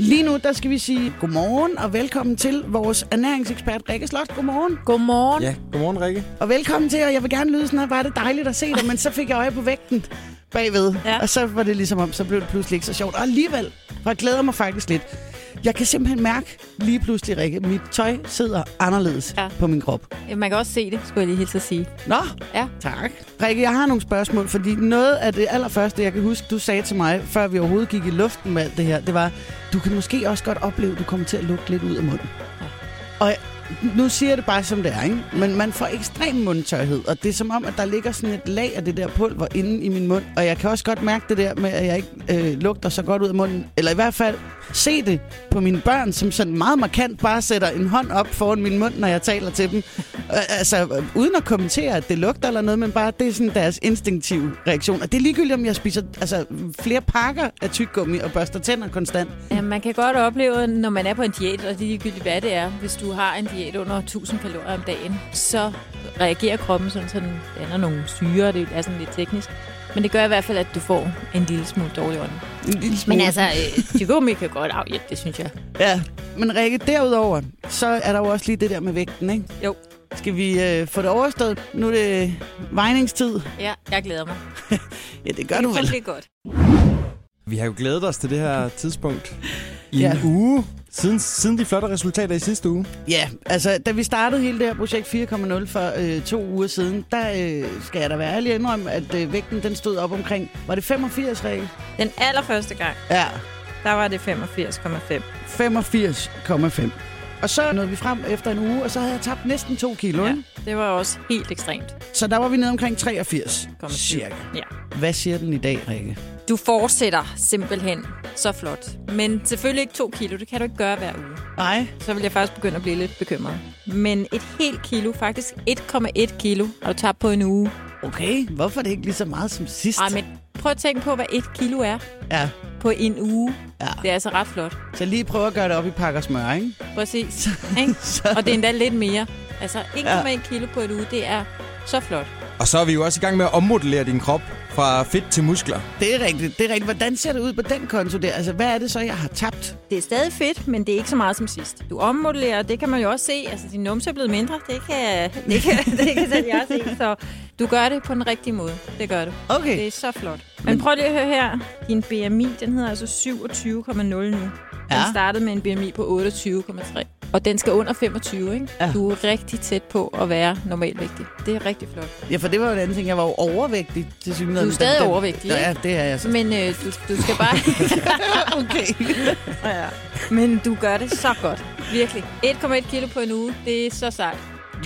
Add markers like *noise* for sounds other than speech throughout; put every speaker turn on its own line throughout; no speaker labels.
Lige nu, der skal vi sige godmorgen og velkommen til vores ernæringsekspert Rikke Slot. Godmorgen.
Godmorgen.
Ja, godmorgen Rikke.
Og velkommen til, og jeg vil gerne lyde sådan her, var det dejligt at se dig, men så fik jeg øje på vægten bagved. Ja.
Ja.
Og så var det ligesom om, så blev det pludselig ikke så sjovt. Og alligevel, for jeg glæder mig faktisk lidt. Jeg kan simpelthen mærke lige pludselig, Rikke, mit tøj sidder anderledes ja.
Ja.
på min krop.
Ja. Man kan også se det, skulle jeg lige hilse at sige.
Nå,
Ja.
tak. Rikke, jeg har nogle spørgsmål, fordi noget af det allerførste, jeg kan huske, du sagde til mig, før vi overhovedet gik i luften med alt det her, det var, du kan måske også godt opleve, at du kommer til at lugte lidt ud af munden. Og nu siger jeg det bare, som det er, ikke? Men man får ekstrem mundtørhed, og det er som om, at der ligger sådan et lag af det der pulver inde i min mund. Og jeg kan også godt mærke det der med, at jeg ikke øh, lugter så godt ud af munden. Eller i hvert fald se det på mine børn, som sådan meget markant bare sætter en hånd op foran min mund, når jeg taler til dem. Øh, Altså, øh, uden at kommentere, at det lugter eller noget, men bare, det er sådan deres instinktive reaktion. Og det er ligegyldigt, om jeg spiser altså, flere pakker af tyggegummi og børster tænder konstant.
Ja, man kan godt opleve, når man er på en diæt, og det er ligegyldigt, hvad det er. Hvis du har en diæt under 1000 kalorier om dagen, så reagerer kroppen sådan, så den danner nogle syre, det er sådan lidt teknisk. Men det gør i hvert fald, at du får en lille smule dårlig ånd.
En lille smule.
Men altså, *laughs* øh, tygummi kan godt afhjælpe, det synes jeg.
Ja, men Rikke, derudover, så er der jo også lige det der med vægten, ikke?
Jo.
Skal vi øh, få det overstået? Nu er det vejningstid.
Ja, jeg glæder mig.
Ja, det gør du vel.
Det er godt.
Vi har jo glædet os til det her tidspunkt i
Ja.
ja. en uge, siden, siden de flotte resultater i sidste uge.
Ja, altså, da vi startede hele det her projekt 4.0 for øh, to uger siden, der øh, skal jeg da være ærlig og indrømme, at øh, vægten den stod op omkring, var det 85, Rikke?
Den allerførste gang,
Ja,
der var det 85,5.
85,5. Og så nåede vi frem efter en uge, og så havde jeg tabt næsten 2 kilo. Ja.
Ja, det var også helt ekstremt.
Så der var vi nede omkring 83,
Kom,
cirka.
Ja.
Hvad siger den i dag, Rikke?
Du fortsætter simpelthen så flot. Men selvfølgelig ikke to kilo, det kan du ikke gøre hver uge.
Nej,
Så vil jeg faktisk begynde at blive lidt bekymret. Men et helt kilo, faktisk 1,1 kilo, har du tabt på en uge.
okay. Hvorfor er det ikke lige så meget som sidst?
Ej, men prøv at tænke på, hvad et kilo er
Ja,
på en uge.
Ja.
Det er altså ret flot.
Så lige prøve at gøre det op i pakker smør, ikke?
Præcis. Ikke? Og det er endda lidt mere. Altså 1,1 kilo på en uge, det er så flot.
Og så er vi jo også i gang med at ommodellere din krop fra fedt til muskler.
Det er rigtigt, det er rigtigt. Hvordan ser det ud på den konto der? Altså, hvad er det så, jeg har tabt?
Det er stadig fedt, men det er ikke så meget som sidst. Du ommodellerer, det kan man jo også se. Altså, din numse er blevet mindre. Det kan, *laughs* det kan, det kan selv jeg se. Så du gør det på den rigtige måde. Det gør du. Det
Okay,
er så flot. Men prøv lige at høre her. Din BMI, den hedder altså 27,0 nu. Den
Ja.
startede med en BMI på 28,3. Og den skal under 25, ikke?
Ja.
Du er rigtig tæt på at være normalvægtig. Det er rigtig flot.
ja, for det var jo en anden ting. Jeg var jo overvægtig til synligheden.
Du er stadig
Den- den-
overvægtig, ikke?
Ja, det er jeg
*laughs*
så.
Men øh, du, du skal bare...
*laughs* Okay.
ja. Men du gør det så godt. Virkelig. 1,1 kilo på en uge. Det er så sejt.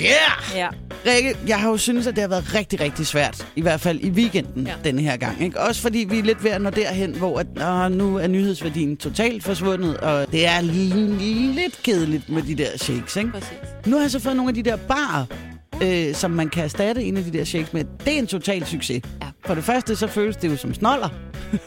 Yeah!
Ja.
Rikke, jeg har jo synes, at det har været rigtig, rigtig svært. I hvert fald i weekenden ja.
Ja.
denne her gang. Ikke? Også fordi vi er lidt ved at nå derhen, hvor at, åh, nu er nyhedsværdien totalt forsvundet. Og det er li- lidt kedeligt med de der shakes. Ikke?
Præcis.
Nu har jeg så fået nogle af de der barer, øh, som man kan erstatte en af de der shakes med. Det er en total succes. Ja.
Ja.
For det første, så føles det jo som snoller.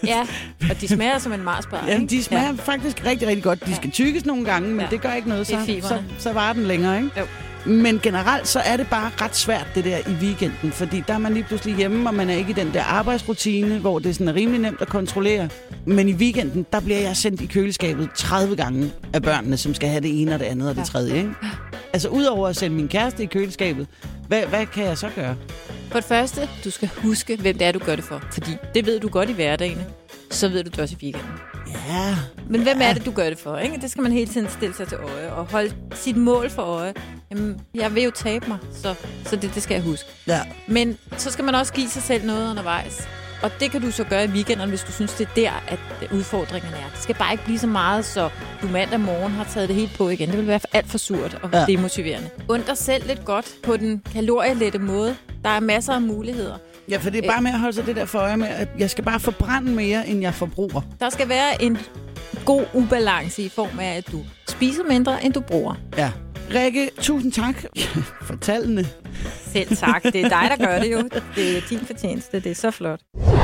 Ja, og de smager som en marsbar.
Jamen,
ikke?
de smager ja. faktisk rigtig, rigtig godt. De skal tykkes nogle gange, men ja.
Ja.
det gør ikke noget,
Det er
så, så,
fibrene.
så varer den længere, ikke?
Jo.
Men generelt, så er det bare ret svært, det der i weekenden, fordi der er man lige pludselig hjemme, og man er ikke i den der arbejdsrutine, hvor det sådan er rimelig nemt at kontrollere. Men i weekenden, der bliver jeg sendt i køleskabet 30 gange af børnene, som skal have det ene og det andet og det
Ja.
tredje, ikke? Altså, udover at sende min kæreste i køleskabet, hvad, hvad kan jeg så gøre?
For det første, du skal huske, hvem det er, du gør det for. Fordi det ved du godt i hverdagen. Så ved du det også i weekenden.
Ja,
Men hvem er det, du gør det for? Ikke? Det skal man hele tiden stille sig til øje og holde sit mål for øje. Jamen, jeg vil jo tabe mig, så, så det, det skal jeg huske.
ja.
Men så skal man også give sig selv noget undervejs. Og det kan du så gøre i weekenden, hvis du synes, det er der, at udfordringerne er. Det skal bare ikke blive så meget, så du mandag morgen har taget det helt på igen. Det vil være alt for surt og
Ja.
ja. demotiverende. Und dig selv lidt godt på den kalorielette måde. Der er masser af muligheder.
Ja, for det
Øh.
er bare med at holde sig det der for øje med, at jeg skal bare forbrænde mere, end jeg forbruger.
Der skal være en god ubalance i form af, at du spiser mindre, end du bruger.
Ja. Rikke, tusind tak *laughs* for tallene.
Selv tak. Det er dig, der gør det jo. Det er din fortjeneste. Det er så flot.